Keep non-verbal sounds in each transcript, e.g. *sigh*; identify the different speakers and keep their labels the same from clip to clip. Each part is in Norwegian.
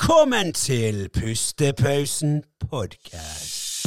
Speaker 1: Velkommen til Pustepausen podcast.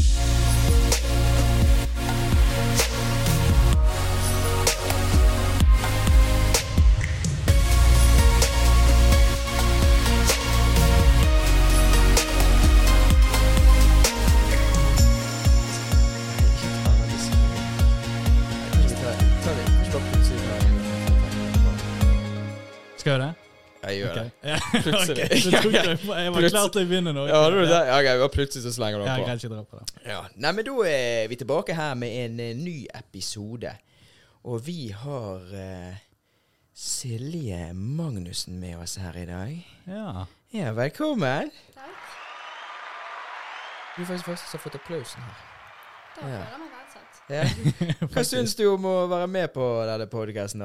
Speaker 2: Skal jeg gjøre det?
Speaker 3: Jeg gjør
Speaker 2: *laughs* Ok.
Speaker 3: det.
Speaker 2: Ja,
Speaker 3: Plutselig.
Speaker 2: ok. Så
Speaker 3: *laughs*
Speaker 2: tok jeg, på- jeg var
Speaker 3: Plutselig.
Speaker 2: klar til å begynne nå.
Speaker 3: Ja, det var det. Ja, ok, bare plutselig så slenger du
Speaker 2: Ja, jeg
Speaker 3: den
Speaker 2: kan ikke dra på det.
Speaker 3: på. Ja. Nei, men da er vi tilbake her med en eh, ny episode. Og vi har eh, Silje Magnussen med oss her i dag.
Speaker 2: Ja.
Speaker 3: Ja, velkommen. Du er faktisk først som har fått applausen her.
Speaker 4: Da
Speaker 3: Ja.
Speaker 4: føler jeg meg verdsatt.
Speaker 3: *laughs* Ja. Hva syns du om å være med på denne podkasten?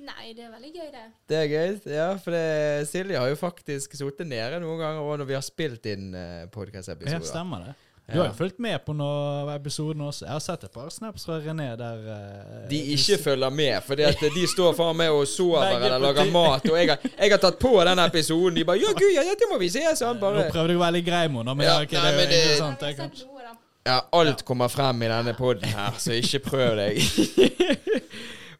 Speaker 4: Nei, det er veldig gøy, det.
Speaker 3: Det er gøy. Ja, for det, Silje har jo faktisk sittet nede noen ganger også når vi har spilt inn eh,
Speaker 2: Ja,
Speaker 3: podkastepisoder.
Speaker 2: stemmer det. Du
Speaker 3: Ja.
Speaker 2: har jo fulgt med på noen episoden også. Jeg har sett et par snaps fra René der eh,
Speaker 3: De
Speaker 2: du
Speaker 3: ikke følger med, fordi at eh, de står foran meg og sover
Speaker 2: Begge
Speaker 3: eller
Speaker 2: på
Speaker 3: lager
Speaker 2: ti-
Speaker 3: mat. Og jeg har, jeg har tatt på den episoden. De bare 'Ja, gud, ja, dette må vi se', sa han bare.
Speaker 2: Nå prøvde jeg å være litt grei mot henne, men
Speaker 3: Ja,
Speaker 2: ja, ok,
Speaker 3: nei, men
Speaker 2: det er
Speaker 3: det-
Speaker 2: jo interessant.
Speaker 4: Jeg
Speaker 2: Det,
Speaker 4: har sett
Speaker 2: kanskje.
Speaker 4: noe, da.
Speaker 3: Ja, alt kommer frem i denne poden her, så ikke prøv deg.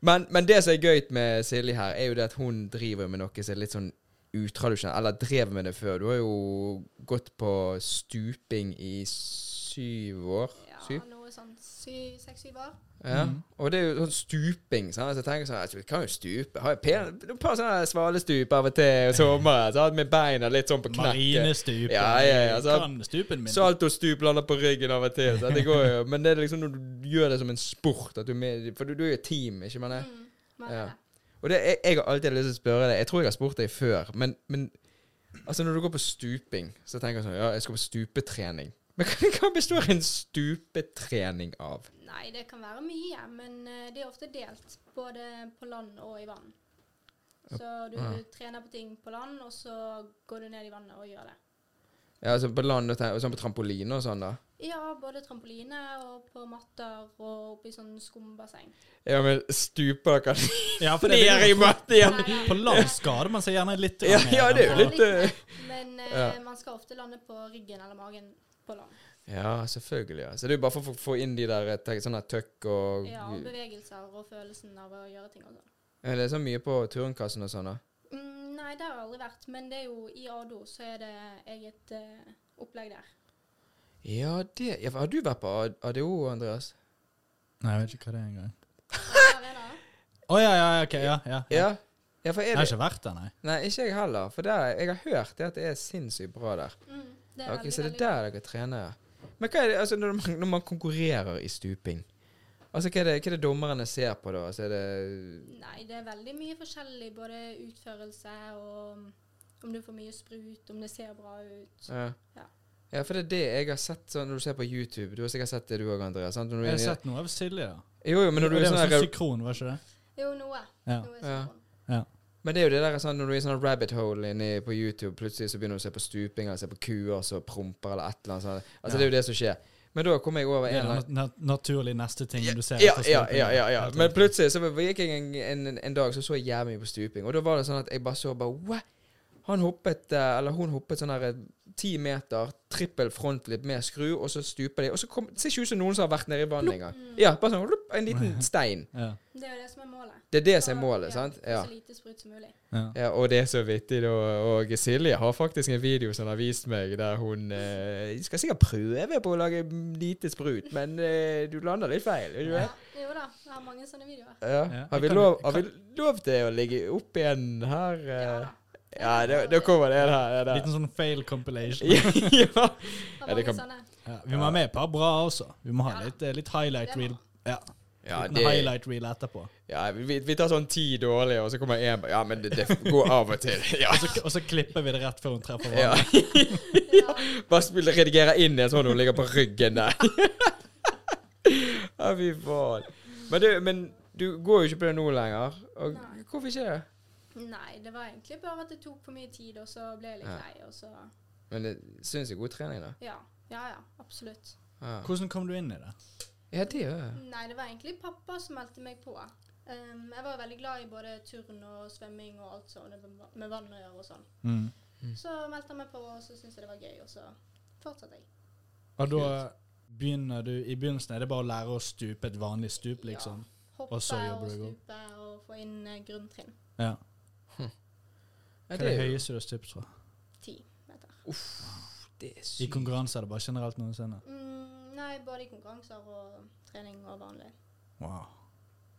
Speaker 3: men, men det som er gøy med Silje her, er jo det at hun driver med noe som er litt sånn utradisjonelt. Eller drev med det før. Du har jo gått på stuping i syv år.
Speaker 4: Ja,
Speaker 3: Syv?
Speaker 4: noe sånn sy- seks-syv år.
Speaker 3: Ja. Og det er jo sånn stuping. Sant? Så jeg tenker sånn, jeg kan jo stupe. Har jeg pen, et par sånne svalestup av og til i sommeren. Sant? Med beina litt sånn på knekket.
Speaker 2: Marinestupen.
Speaker 3: Ja, ja, ja, så-
Speaker 2: Kan stupen min.
Speaker 3: Saltostup lander på ryggen av og til. Sant? Det går jo. Men det er liksom når du gjør det som en sport, at du er med, for du, du er jo et team, ikke sant?
Speaker 4: Mm, men,
Speaker 3: Ja. Og det, jeg, jeg har alltid lyst til å spørre deg Jeg tror jeg har spurt deg før, men, men altså når du går på stuping, så tenker jeg sånn Ja, jeg skal på stupetrening. Men hva- hva består en stupetrening av?
Speaker 4: Nei, det kan være mye, men eh, det er ofte delt. Både på land og i vann. Så du
Speaker 3: Ja.
Speaker 4: trener på ting på land, og så går du ned i vannet og gjør det.
Speaker 3: Ja, altså På land og te- og sånn på trampoline og sånn, da?
Speaker 4: Ja, både trampoline og på matter og oppi sånn skumbasseng.
Speaker 3: Ja, men stuper dere
Speaker 2: Ja, for det er
Speaker 3: ned i
Speaker 2: litt-
Speaker 3: matten igjen?
Speaker 4: Nei, nei,
Speaker 2: På land skader man seg gjerne litt.
Speaker 3: Ja,
Speaker 2: mer
Speaker 3: ja, det er
Speaker 2: enn
Speaker 3: jo
Speaker 2: på-
Speaker 3: litt eh,
Speaker 4: Men
Speaker 3: *laughs* Ja.
Speaker 4: eh, man skal ofte lande på ryggen eller magen på land.
Speaker 3: *laughs* Ja, selvfølgelig. altså. ja. Så det er jo bare for å få inn de der eh, te- sånne tøkk og
Speaker 4: Ja, og
Speaker 3: Er
Speaker 4: bevegelser og følelsen av å gjøre ting og sånn.
Speaker 3: det så mye på turnkassen og sånn, da?
Speaker 4: Mm, nei, det har jeg aldri vært, men det er jo i ADO så er det eget eh, opplegg
Speaker 3: *laughs*
Speaker 4: der.
Speaker 3: Ja, det ja, for Har du vært på A- ADO, Andreas?
Speaker 2: Nei, jeg vet ikke hva det er engang.
Speaker 4: Arena.
Speaker 2: Å ja, ja, ok, ja. ja. Jeg
Speaker 3: Ja. ja for er
Speaker 2: har
Speaker 3: det
Speaker 2: ikke vært der, nei.
Speaker 3: Nei, ikke jeg heller. For der, jeg har hørt det at det er sinnssykt bra der.
Speaker 4: Mm, det er
Speaker 3: Ok,
Speaker 4: veldig,
Speaker 3: så det er
Speaker 4: veldig
Speaker 3: der dere trener? ja. Men hva er det, altså, når, man, når man konkurrerer i stuping, altså, hva, er det, hva er det dommerne ser på da? Altså, er det
Speaker 4: bra. Nei, det er veldig mye forskjellig, både utførelse og mm, om du får mye sprut, om det ser bra ut.
Speaker 3: Ja.
Speaker 4: Ja.
Speaker 3: ja, for det er det jeg har sett sånn, når du ser på YouTube. Du har sikkert sett det du òg, Andreas. Sant? Når du
Speaker 2: Jeg
Speaker 3: er
Speaker 2: har
Speaker 3: inne-
Speaker 2: sett noe av Silje, da.
Speaker 3: Jo, jo, men når du
Speaker 2: Og
Speaker 3: er
Speaker 2: det
Speaker 3: sånn
Speaker 2: var
Speaker 3: der,
Speaker 2: sånn sykron, var ikke det?
Speaker 4: Jo, noe.
Speaker 2: Ja.
Speaker 4: noe er
Speaker 3: Ja.
Speaker 4: sånn.
Speaker 2: ja.
Speaker 3: Men det er jo det der sånn, når du er i sånn rabbit hole inne på YouTube, plutselig så begynner du å se på stuping eller se på kuer som promper eller et eller annet sånt. Altså,
Speaker 2: Ja.
Speaker 3: det er jo det som skjer. Men da kom jeg over en
Speaker 2: Det er
Speaker 3: eller annen
Speaker 2: den nat naturlig neste ting du ser.
Speaker 3: ja,
Speaker 2: etter
Speaker 3: ja,
Speaker 2: stupingen.
Speaker 3: ja, ja, ja.
Speaker 2: Helt
Speaker 3: Men
Speaker 2: riktig.
Speaker 3: plutselig så gikk jeg en, en, en dag så så jeg jævlig mye på stuping, og da var det sånn at jeg bare så bare What? Han hoppet, eh, eller hun hoppet sånn her ti meter, trippel frontlip med skru, og så stuper de. Og så kom, det ser ikke ut som noen som har vært nede i vannet engang. Ja, bare sånn lupp, en liten stein.
Speaker 2: ja.
Speaker 4: Det er jo det som er målet.
Speaker 3: Det er det som
Speaker 4: Så,
Speaker 3: er målet,
Speaker 4: ja,
Speaker 3: sant?
Speaker 4: få
Speaker 3: Ja.
Speaker 4: Så lite sprut som mulig.
Speaker 2: Ja.
Speaker 3: Ja, og det er så vittig, da. Og Silje har faktisk en video som hun har vist meg, der hun eh, skal sikkert prøve på å lage lite sprut, men eh, du lander litt feil. Vet du
Speaker 4: Ja,
Speaker 3: det?
Speaker 4: jo da, jeg har mange sånne videoer.
Speaker 3: Ja.
Speaker 2: Ja.
Speaker 3: Har, vi
Speaker 2: Kan-
Speaker 3: lov, har vi lov til å ligge opp igjen her? eh?
Speaker 4: Ja da.
Speaker 3: Ja, da, da kommer det en her. det der. *laughs*
Speaker 2: Liten sånn fail compilation.
Speaker 3: ja.
Speaker 4: Jeg
Speaker 3: Ja,
Speaker 4: Har
Speaker 3: det
Speaker 4: mange
Speaker 3: kan- *laughs*
Speaker 4: sånne.
Speaker 2: Ja, vi må ha med et par bra også. Vi må ha
Speaker 4: Ja.
Speaker 2: litt, eh, litt highlight
Speaker 4: Det må-
Speaker 2: reel. Ja.
Speaker 3: Ja,
Speaker 2: Liten
Speaker 3: det-
Speaker 2: highlight reel etterpå.
Speaker 3: ja vi, vi tar sånn ti dårlige, og så kommer én Ja, men det, det går av og til. *laughs* Ja.
Speaker 2: Og så, og så klipper vi det rett før hun treffer
Speaker 3: Ja.
Speaker 2: vannet.
Speaker 4: Ja.
Speaker 3: Bare spille, redigere inn en sånn hun ligger på ryggen der. *laughs* ja, fy faen. Men du, men du går jo ikke på det nå lenger. Og
Speaker 4: Nei.
Speaker 3: hvorfor ikke det?
Speaker 4: Nei, det var egentlig bare at det tok for mye tid, og så ble jeg litt
Speaker 3: Ja.
Speaker 4: lei, og så
Speaker 3: Men det syns jeg er god trening, da.
Speaker 4: Ja. Ja ja, absolutt.
Speaker 3: Ja,
Speaker 2: Hvordan kom du inn i det?
Speaker 3: ja det gjør jeg.
Speaker 4: Nei, det var egentlig pappa som meldte meg på. Ehm, jeg var veldig glad i både turn og svømming og alt sånt med vann å gjøre og sånn.
Speaker 2: Mm.
Speaker 4: Så meldte jeg meg på, og så syntes jeg det var gøy, og så fortsatte jeg.
Speaker 2: Og da begynner du I begynnelsen er det bare å lære å stupe et vanlig stup, liksom.
Speaker 4: Hoppe
Speaker 2: Og
Speaker 4: og,
Speaker 2: så jobber du i gang.
Speaker 4: stupe og få inn eh, grunntrinn.
Speaker 2: Ja.
Speaker 3: Ja, det,
Speaker 2: Hva er det
Speaker 3: er jo,
Speaker 2: høyeste du har stupt fra?
Speaker 4: Ti meter.
Speaker 3: det er
Speaker 2: I
Speaker 3: sykt.
Speaker 2: konkurranser, er det bare generelt noensinne?
Speaker 4: Mm, nei, både i konkurranser og trening og vanlig.
Speaker 2: Wow.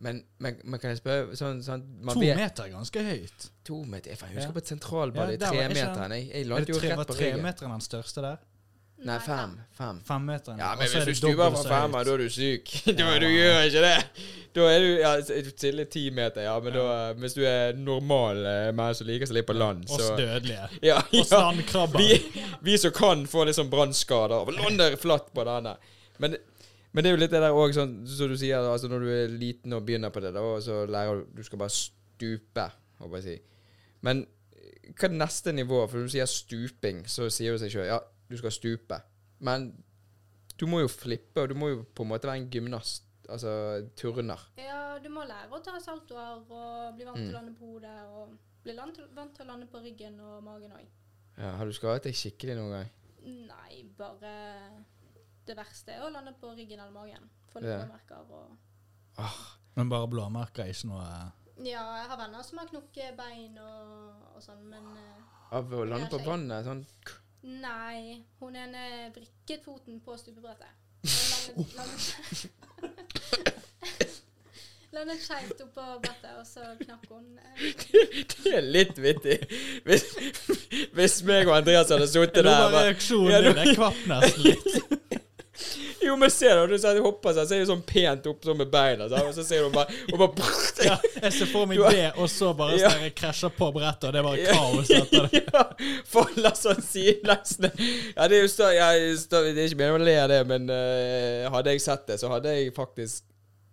Speaker 3: Men, men, men kan jeg spørre sånn, sånn, man
Speaker 2: To
Speaker 3: vet-
Speaker 2: meter er ganske høyt.
Speaker 3: To meter? Jeg faen, jeg
Speaker 2: Ja.
Speaker 3: husker på et sentralbad
Speaker 2: Ja,
Speaker 3: i
Speaker 2: der var- er ikke
Speaker 3: tremeteren. Jeg, jeg
Speaker 2: Er
Speaker 3: landet
Speaker 2: det
Speaker 3: jo
Speaker 2: tre,
Speaker 3: rett
Speaker 2: var
Speaker 3: på ryggen.
Speaker 2: tremeteren den største der?
Speaker 3: Nei, fem. fem.
Speaker 2: Femmeteren.
Speaker 3: Ja,
Speaker 2: og
Speaker 3: men
Speaker 2: så er
Speaker 3: hvis du
Speaker 2: det
Speaker 3: stuper
Speaker 2: dobbelt
Speaker 3: fra
Speaker 2: så høyt.
Speaker 3: femmer, da er du
Speaker 2: *laughs*
Speaker 3: syk. *laughs* Da du gjør ikke det. Da er du ja, stille ti meter, ja. Men da, eh, hvis du er normal eh, menneske som liker seg litt på land,
Speaker 2: Oss
Speaker 3: så *laughs*
Speaker 2: dødelige.
Speaker 3: ja,
Speaker 2: Oss
Speaker 3: ja.
Speaker 2: landkrabber.
Speaker 3: Vi, vi som kan få litt sånn brannskader av å lande flatt på denne. Men, men det er jo litt det der òg, sånn som du sier, altså når du er liten og begynner på det, da, og så lærer du Du skal bare stupe, håper jeg å si. Men hva er det neste nivå? For når du sier stuping, så sier du seg sjøl ja, du skal stupe. Men du må jo flippe, og du må jo på en måte være en gymnast. Altså turner.
Speaker 4: Ja, du må lære å ta saltoer og bli vant
Speaker 2: Mm.
Speaker 4: til å lande på hodet. Og bli land, vant til å lande på ryggen og magen òg.
Speaker 3: Ja, har du skadet deg skikkelig noen gang?
Speaker 4: Nei, bare Det verste er å lande på ryggen eller magen. Få
Speaker 3: Ja.
Speaker 4: lårmerker og
Speaker 2: Men bare blåmerker, ikke noe
Speaker 4: Ja, jeg har venner som har knukket bein og, og sånn, men eh,
Speaker 3: Av å lande på
Speaker 4: skjegg.
Speaker 3: vannet? Sånn
Speaker 4: Nei. Hun ene vrikket foten på stupebrettet. Hun Landet, *laughs* landet, landet skeivt oppå brettet, og så knakk hun. eh,
Speaker 3: Det er litt vittig. Hvis, hvis meg og Andreas hadde sittet
Speaker 2: Det
Speaker 3: der
Speaker 2: var
Speaker 3: bare,
Speaker 2: reaksjonen
Speaker 3: Ja,
Speaker 2: din.
Speaker 3: du-
Speaker 2: Jeg kvapp
Speaker 3: *laughs*
Speaker 2: nesten litt.
Speaker 3: Jo, men se da, du ser de hopper seg, så er de sånn pent opp sånn med beina, så, og så ser du bare Og bare brrrt.
Speaker 2: Ja, jeg ser for meg
Speaker 3: Du har-
Speaker 2: det, og så bare
Speaker 3: Ja.
Speaker 2: så jeg krasjer på brettet, og det var
Speaker 3: Ja.
Speaker 2: kaos etter det.
Speaker 3: *laughs* Ja, Faller sånn sidelengs ned. Ja, det er jo stå, ja, stå, Det er ikke meningen å le av det, men eh, hadde jeg sett det, så hadde jeg faktisk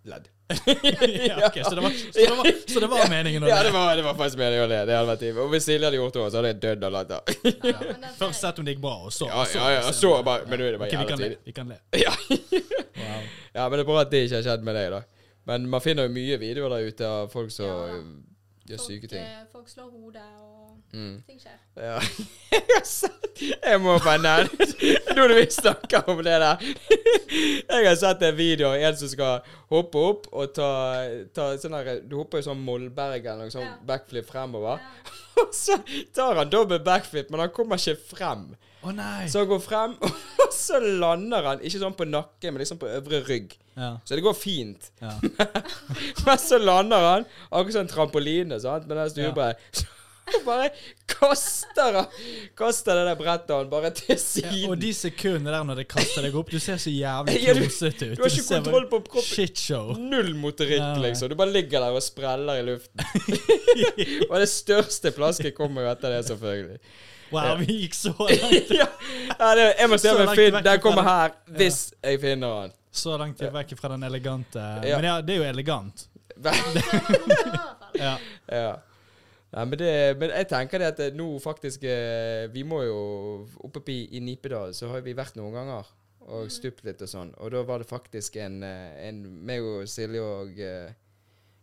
Speaker 3: ledd.
Speaker 2: Ja, ok, så, det var, så, det var, så det var meningen å
Speaker 3: Ja, det
Speaker 2: det.
Speaker 3: var, det var faktisk meningen å le. Det hadde vært ivrig. Og hvis Silje hadde gjort det òg, så hadde jeg dødd av latter.
Speaker 4: men den-
Speaker 2: Først sett om det gikk bra, og så
Speaker 3: Ja,
Speaker 2: og
Speaker 3: ja, ja,
Speaker 2: og
Speaker 3: så bare Men nå er det sånn. bare
Speaker 2: Ok, vi
Speaker 3: jævla
Speaker 2: kan le.
Speaker 3: tidlig.
Speaker 2: Vi kan le.
Speaker 3: Ja.
Speaker 2: Wow.
Speaker 3: *laughs* Ja, men det er bra at det ikke har skjedd med deg, da. Men man finner jo mye videoer der ute av folk som
Speaker 4: Ja.
Speaker 3: øh, gjør
Speaker 4: folk,
Speaker 3: syke ting.
Speaker 4: eh, Folk slår hodet, og
Speaker 3: Mm.
Speaker 4: ting skjer.
Speaker 3: Ja. *laughs* Jeg har sett Jeg må bare nevne Nå når vi snakker om det der *laughs* Jeg har sett en video av en som skal hoppe opp og ta, ta sånn der Du hopper jo sånn Mollberg eller noe sånn
Speaker 4: Ja.
Speaker 3: backflip fremover.
Speaker 4: Ja.
Speaker 3: *laughs* Og så tar han dobbel backflip, men han kommer ikke frem.
Speaker 2: Å nei!
Speaker 3: Så han går frem, *laughs* og så lander han ikke sånn på nakken, men liksom på øvre rygg.
Speaker 2: Ja.
Speaker 3: Så det går fint. *laughs*
Speaker 2: Ja.
Speaker 3: Men så lander han akkurat som en trampoline, sant? med den stupebrettet. *laughs* Så bare kaster han Kaster det der brettet han bare til
Speaker 2: Ja,
Speaker 3: siden.
Speaker 2: og de sekundene der når det kaster deg opp, du ser så jævlig
Speaker 3: *laughs* Ja, du-
Speaker 2: klosete ut.
Speaker 3: du har ikke
Speaker 2: ser bare-
Speaker 3: kontroll på kroppen.
Speaker 2: Shitshow.
Speaker 3: Null motorikk,
Speaker 2: Nei, nei.
Speaker 3: liksom. Du bare ligger der og spreller i
Speaker 2: *laughs*
Speaker 3: luften. og det største plasket kommer jo etter det,
Speaker 2: *laughs*
Speaker 3: selvfølgelig.
Speaker 2: Wow, vi gikk så langt,
Speaker 3: ja, ja, det, jeg må se
Speaker 2: Så
Speaker 3: om jeg
Speaker 2: langt
Speaker 3: finner
Speaker 2: vekk
Speaker 3: Den
Speaker 2: fra
Speaker 3: kommer
Speaker 2: det.
Speaker 3: her, hvis jeg finner han.
Speaker 2: så langt vekk fra den elegante
Speaker 3: Ja.
Speaker 2: Men ja, det er jo elegant.
Speaker 4: Ja, så var det noen som var i hvert fall.
Speaker 2: Ja.
Speaker 3: Ja. Nei, men, det, men jeg tenker det at det, nå faktisk eh, Vi må jo oppe i, i Nipedal, så har vi vært noen ganger og stupt litt og sånn. Og da var det faktisk en, eh, en meg og Silje og eh,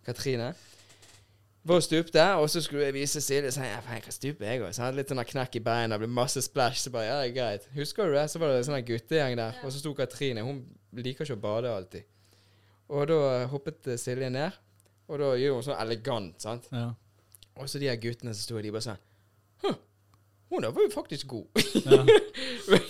Speaker 3: Katrine var og stupte, og så skulle jeg vise Silje sånn, ja, faen, jeg kan stupe, jeg òg. Så jeg hadde litt sånn der knekk i beina, ble masse splash. Så bare ja, det er greit. Husker du det? Så var det en sånn der guttegjeng der, og så sto Katrine. Hun liker ikke å bade alltid. Og da hoppet eh, Silje ned, og da gjør hun sånn elegant, sant.
Speaker 2: Ja.
Speaker 3: Og så de her guttene som sto her, de bare sånn «Hm, Hun der var jo faktisk god. *laughs*
Speaker 2: Ja.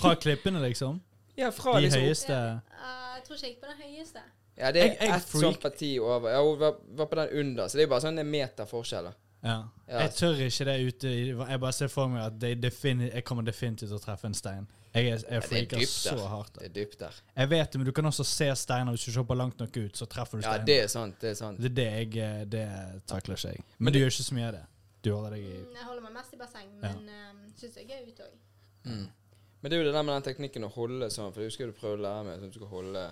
Speaker 2: Fra klippene, liksom?
Speaker 3: ja, fra
Speaker 2: De
Speaker 3: liksom
Speaker 2: høyeste
Speaker 4: Eh, jeg tror ikke jeg gikk på den høyeste.
Speaker 3: Ja, det er
Speaker 2: Jeg- jeg
Speaker 3: ett
Speaker 2: freak-
Speaker 3: sånt parti over. Ja, hun var, var på den under, så det er bare sånn en meter forskjell. da.
Speaker 2: Ja.
Speaker 3: Ja.
Speaker 2: Jeg tør ikke det ute i Jeg bare ser for meg at de defini- jeg kommer definitivt til å treffe en stein. Jeg, er- jeg
Speaker 3: Ja, det er
Speaker 2: freaker
Speaker 3: dypt altså.
Speaker 2: så
Speaker 3: der.
Speaker 2: hardt.
Speaker 3: Det er dypt der.
Speaker 2: Jeg vet det, men du kan også se steiner. Hvis du ser på langt nok ut, så treffer du
Speaker 3: Ja,
Speaker 2: steinen.
Speaker 3: det er sant. Det er sant.
Speaker 2: det er det jeg eh, Det takler ikke jeg. Men du gjør ikke så mye av det. Du holder deg i
Speaker 4: Mm, Jeg holder meg mest i basseng, men ja. syns jeg er gøy ute òg.
Speaker 3: Men det er jo det der med den teknikken å holde sånn, for jeg husker du prøvde å lære meg sånn at du skal holde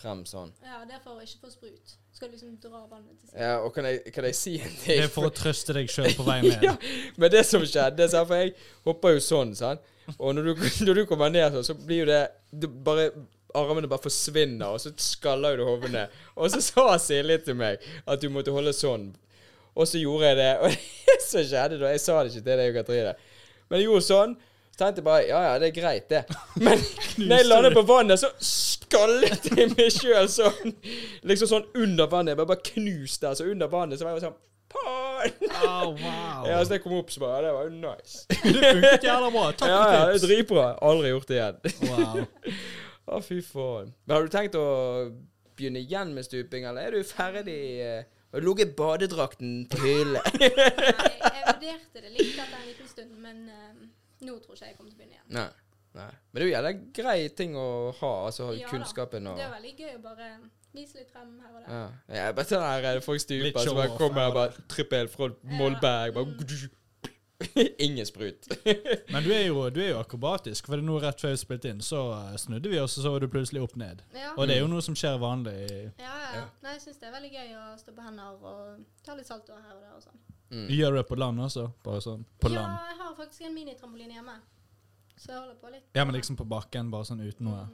Speaker 3: frem sånn.
Speaker 4: Ja, det er for å ikke få sprut. Skal du liksom dra vannet *laughs* til siden.
Speaker 3: Ja, og kan jeg, kan jeg si en ting?
Speaker 2: Det er for å trøste deg sjøl på vei
Speaker 3: *laughs*
Speaker 2: ned.
Speaker 3: ja, men det som skjedde, sant, for jeg hopper jo sånn, sant? og når du, *laughs* når du kommer ned sånn, så blir jo det, du bare, armene bare forsvinner, og så skaller jo du hodet ned. Og så sa Silje til meg at du *laughs* måtte holde sånn, og så gjorde jeg det, og det som skjedde da, jeg sa det ikke til deg og Katrine, Men jeg gjorde sånn. Så tenkte jeg bare ja, ja, det er greit, det. Men når jeg landet på vannet, så skallet jeg meg sjøl sånn. Liksom sånn under vannet. Jeg ble bare knust der. Så under vannet så var jeg sånn Faen!
Speaker 2: Oh, wow.
Speaker 3: Ja, så jeg kom opp så bare ja, Det var jo nice.
Speaker 2: Det funket jævla bra. *laughs* Takk
Speaker 3: Ja, ja,
Speaker 2: for
Speaker 3: det er
Speaker 2: tips.
Speaker 3: dritbra. Aldri gjort det igjen. *laughs*
Speaker 2: Wow.
Speaker 3: Å, fy faen. Men har du tenkt å begynne igjen med stuping, eller er du ferdig? eh, Har du ligget i badedrakten på
Speaker 2: *laughs*
Speaker 3: hylle?
Speaker 4: Nei, jeg vurderte det litt etter en liten stund, men eh, nå tror ikke jeg jeg kommer til å begynne igjen.
Speaker 3: Nei. Nei. Men det er jo jævla grei ting å ha, altså ha
Speaker 4: Ja da,
Speaker 3: kunnskapen og
Speaker 4: Det er veldig gøy å bare vise litt frem her og der.
Speaker 3: ja. Jeg er bare sånn her eh, folk
Speaker 2: Litt
Speaker 3: stuper, så
Speaker 2: show-off,
Speaker 3: bare kommer jeg
Speaker 2: ja.
Speaker 3: bare trippel fra Molberg,
Speaker 4: Mm.
Speaker 3: bare *laughs* Ingen sprut.
Speaker 2: Mm. Men du er, jo, du er jo akrobatisk, for det er noe rett før vi spilte inn, så eh, snudde vi oss, og så var du plutselig opp ned.
Speaker 4: Ja.
Speaker 2: Og det er jo noe som skjer vanlig.
Speaker 3: Mm.
Speaker 4: Ja, ja. ja. Nei, jeg syns det er veldig gøy å stå på hender og ta litt salto her og der og sånn.
Speaker 2: Du gjør det på land også, bare sånn. På
Speaker 4: Ja,
Speaker 2: land.
Speaker 4: jeg har faktisk en minitrampoline hjemme, så jeg holder på litt.
Speaker 2: Ja, men liksom på bakken, bare sånn uten noe.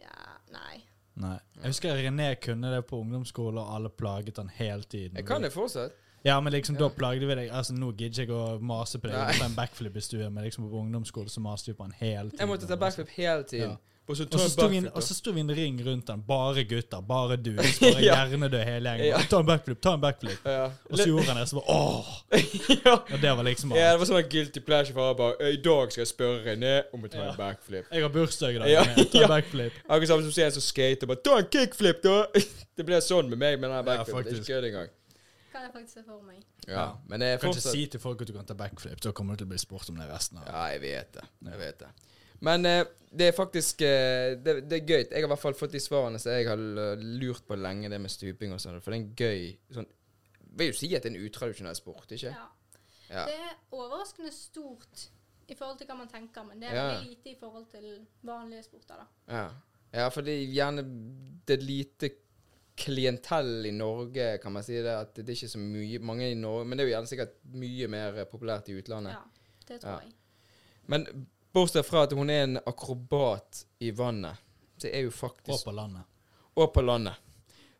Speaker 4: Ja, nei.
Speaker 2: Nei. Jeg husker René kunne det på ungdomsskolen, og alle plaget han hele tiden.
Speaker 3: Jeg kan det fortsatt.
Speaker 2: Ja, men liksom da plagde vi deg. Altså, nå gidder jeg ikke å mase på deg
Speaker 3: Nei.
Speaker 2: på en backflip i stuen, men liksom på ungdomsskolen så maste vi på han hele tiden.
Speaker 3: Jeg måtte ta
Speaker 2: og bare sånn.
Speaker 3: backflip hele tiden.
Speaker 2: Ja.
Speaker 3: Og så
Speaker 2: Og
Speaker 3: tar
Speaker 2: så
Speaker 3: jeg
Speaker 2: sto vi en-
Speaker 3: backflip.
Speaker 2: og
Speaker 3: da.
Speaker 2: så sto vi en ring rundt den. Bare gutter, bare du.
Speaker 3: *laughs*
Speaker 2: Bare
Speaker 3: Ja.
Speaker 2: hjernedød hele gjengen.
Speaker 3: Ja.
Speaker 2: Ta en backflip, ta en backflip.
Speaker 3: Ja.
Speaker 2: Og så gjorde han det, så bare åh!
Speaker 3: *laughs* Ja.
Speaker 2: Og det var liksom
Speaker 3: Ja,
Speaker 2: alt.
Speaker 3: det var sånn guilty pleasure for bare I dag skal jeg spørre René om å ta en backflip.
Speaker 2: Jeg har bursdag i dag.
Speaker 3: Ja,
Speaker 2: jeg tar
Speaker 3: ja.
Speaker 2: backflip.
Speaker 3: Akkurat samme som ser en som skater bare 'Ta en kickflip, da!' *laughs* Det ble sånn med meg med den her backflipen. det er
Speaker 2: faktisk.
Speaker 3: ikke kødd engang.
Speaker 4: Kan jeg faktisk se for meg.
Speaker 3: Ja, men eh, det er
Speaker 2: Du kan ikke
Speaker 3: fortsatt
Speaker 2: si til folk at du kan ta backflip, så kommer du til å bli spurt om det resten av
Speaker 3: Ja, jeg vet det. Jeg vet det. Men eh, det er faktisk eh, det, det er gøy. Jeg har i hvert fall fått de svarene som jeg har l- lurt på lenge, det med stuping og sånn. For det er en gøy sånn Vil jo si at det er en utradisjonell sport, ikke?
Speaker 4: Ja.
Speaker 3: Ja.
Speaker 4: Det er overraskende stort i forhold til hva man tenker, men det er
Speaker 3: Ja.
Speaker 4: veldig lite i forhold til vanlige sporter, da.
Speaker 3: Ja, ja for det er gjerne det er lite klientell i Norge, kan man si det. At det er ikke så mye mange i Norge, men det er jo gjerne sikkert mye mer eh, populært i utlandet.
Speaker 4: Ja, det tror
Speaker 3: Ja.
Speaker 4: jeg.
Speaker 3: Men bortsett fra at hun er en akrobat i vannet, så er jo
Speaker 2: det. Og
Speaker 3: faktisk
Speaker 2: på landet.
Speaker 3: Og på landet.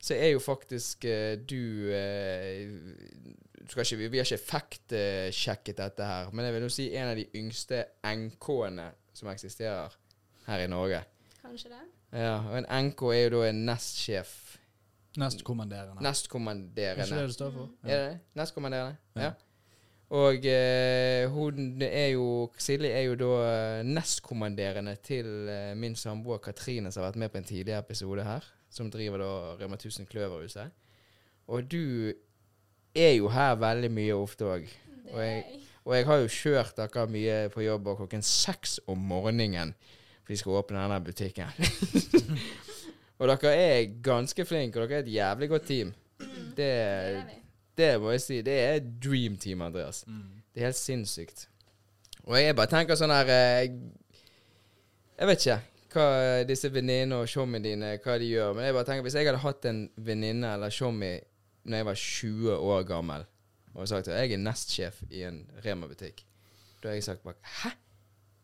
Speaker 3: Så er jo faktisk eh, du eh, du skal ikke, Vi vi har ikke effektsjekket dette her, men jeg vil jo si en av de yngste NK-ene som eksisterer her i Norge.
Speaker 4: Kanskje det.
Speaker 3: Ja, og en NK er jo da en nestsjef.
Speaker 2: Nestkommanderende. Er ikke
Speaker 3: Nestkommanderende.
Speaker 2: det det står for?
Speaker 3: Er det det? Nestkommanderende? Ja. Og eh, hun er jo Silje er jo da eh, nestkommanderende til eh, min samboer Katrine, som har vært med på en tidligere episode her, som driver da Rema 1000 Kløverhuset. Og du er jo her veldig mye ofte òg.
Speaker 4: Det
Speaker 3: Og
Speaker 4: er
Speaker 3: jeg-
Speaker 4: jeg.
Speaker 3: Og jeg har jo kjørt dere mye på jobb og klokken seks om morgenen. For de skal åpne denne butikken. *laughs* og dere er ganske flinke, og dere er et jævlig godt team. Det,
Speaker 4: Mm. Det er vi.
Speaker 3: det må jeg si. Det er et dream team, Andreas.
Speaker 2: Mm.
Speaker 3: Det er helt sinnssykt. Og jeg bare tenker sånn her eh, Jeg vet ikke hva disse venninnene og tjommiene dine hva de gjør, men jeg bare tenker hvis jeg hadde hatt en venninne eller tjommi når jeg var 20 år gammel og sagt at jeg er nestsjef i en Rema-butikk, da har jeg sagt bare Hæ?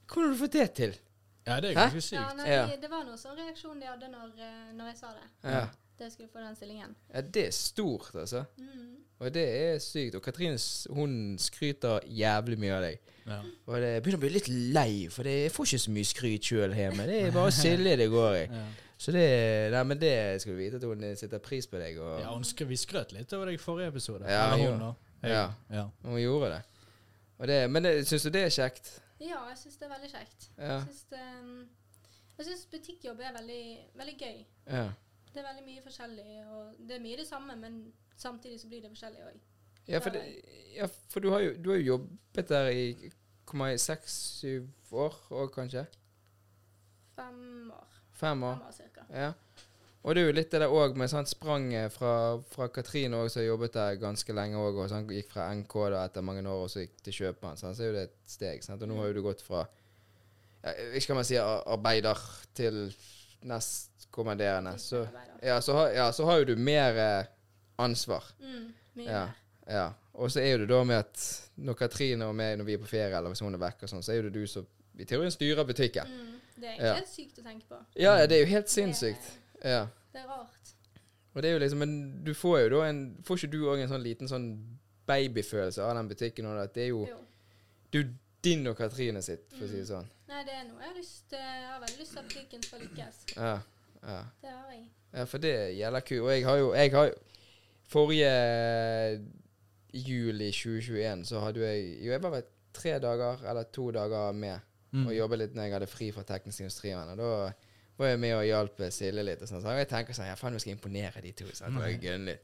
Speaker 3: Hvordan har du fått det til?
Speaker 2: Ja, det er
Speaker 3: Hæ?
Speaker 2: ganske
Speaker 4: Ja,
Speaker 2: sykt.
Speaker 4: nei,
Speaker 3: Ja.
Speaker 4: Det var noe sånn reaksjon de hadde når, eh, når jeg sa det.
Speaker 3: Ja.
Speaker 4: Det skulle få den stillingen.
Speaker 3: ja, det er stort, altså.
Speaker 4: Mm.
Speaker 3: Og det er sykt. Og Katrine s- hun skryter jævlig mye av deg.
Speaker 2: Ja.
Speaker 3: Og det jeg begynner å bli litt lei, for det, jeg får ikke så mye skryt sjøl hjemme. Det er bare Silje det går i.
Speaker 2: Ja.
Speaker 3: Så det Nei, men det skal du vite, at hun setter pris på deg, og
Speaker 2: Ja, hun skr vi skrøt litt over deg i forrige episode.
Speaker 3: Ja,
Speaker 2: Eller
Speaker 3: jo.
Speaker 2: hun, da.
Speaker 3: Ja.
Speaker 2: ja.
Speaker 3: hun gjorde det. Og det men syns du det er kjekt?
Speaker 4: Ja, jeg syns det er veldig kjekt.
Speaker 3: Ja.
Speaker 4: Jeg syns, eh, jeg syns butikkjobb er veldig, veldig gøy.
Speaker 3: ja.
Speaker 4: Det er veldig mye forskjellig, og det er mye det samme, men samtidig så blir det forskjellig òg.
Speaker 3: Ja, for, det, ja, for du, har jo, du har jo jobbet der i hvor mange, seks-syv år og kanskje?
Speaker 4: Fem år.
Speaker 3: Fem år?
Speaker 4: Fem år cirka.
Speaker 3: Ja. Og det er jo litt det der òg med sånn spranget fra, fra Katrine òg, som har jobbet der ganske lenge òg, og sånn gikk fra NK da etter mange år, og så gikk til Kjøpmann. Sånn, så er jo det et steg. Sant? Og nå har jo du gått fra ja, Ikke kan man si ar- arbeider til nestkommanderende. Så,
Speaker 4: Butikkarbeider.
Speaker 3: ja, så har, ja, så har jo du mer eh, ansvar.
Speaker 4: Mm, mye
Speaker 3: Ja.
Speaker 4: mer.
Speaker 3: ja. Og så er jo det da med at når Katrine og meg, når vi er på ferie, eller hvis hun er vekke og sånn, så er jo det du som i teorien styrer butikken.
Speaker 4: Mm, det er
Speaker 3: Ja.
Speaker 4: helt sykt å tenke på.
Speaker 3: Ja, ja, det er jo helt sinnssykt. Ja.
Speaker 4: Det er rart.
Speaker 3: Og det er jo liksom, Men du får jo da en Får ikke du òg en sånn liten sånn babyfølelse av den butikken? Og at det er jo
Speaker 4: Jo.
Speaker 3: du, din og Katrine sitt, for å si det sånn.
Speaker 4: Nei, det er noe jeg har lyst til. Jeg har veldig lyst til at piken skal lykkes.
Speaker 3: Ja, ja.
Speaker 4: Det har jeg.
Speaker 3: ja for det gjelder ku. Og jeg har jo, jeg har jo Forrige jul i 2021 så hadde jeg Jo, jeg var vel tre dager eller to dager med
Speaker 2: Mm.
Speaker 3: og jobbet litt når jeg hadde fri fra teknisk industri. Og da var jeg med og hjalp Silje litt. Og sånn, så jeg tenker sånn, ja faen, vi skal imponere de to. Sant? Og jeg gønner litt.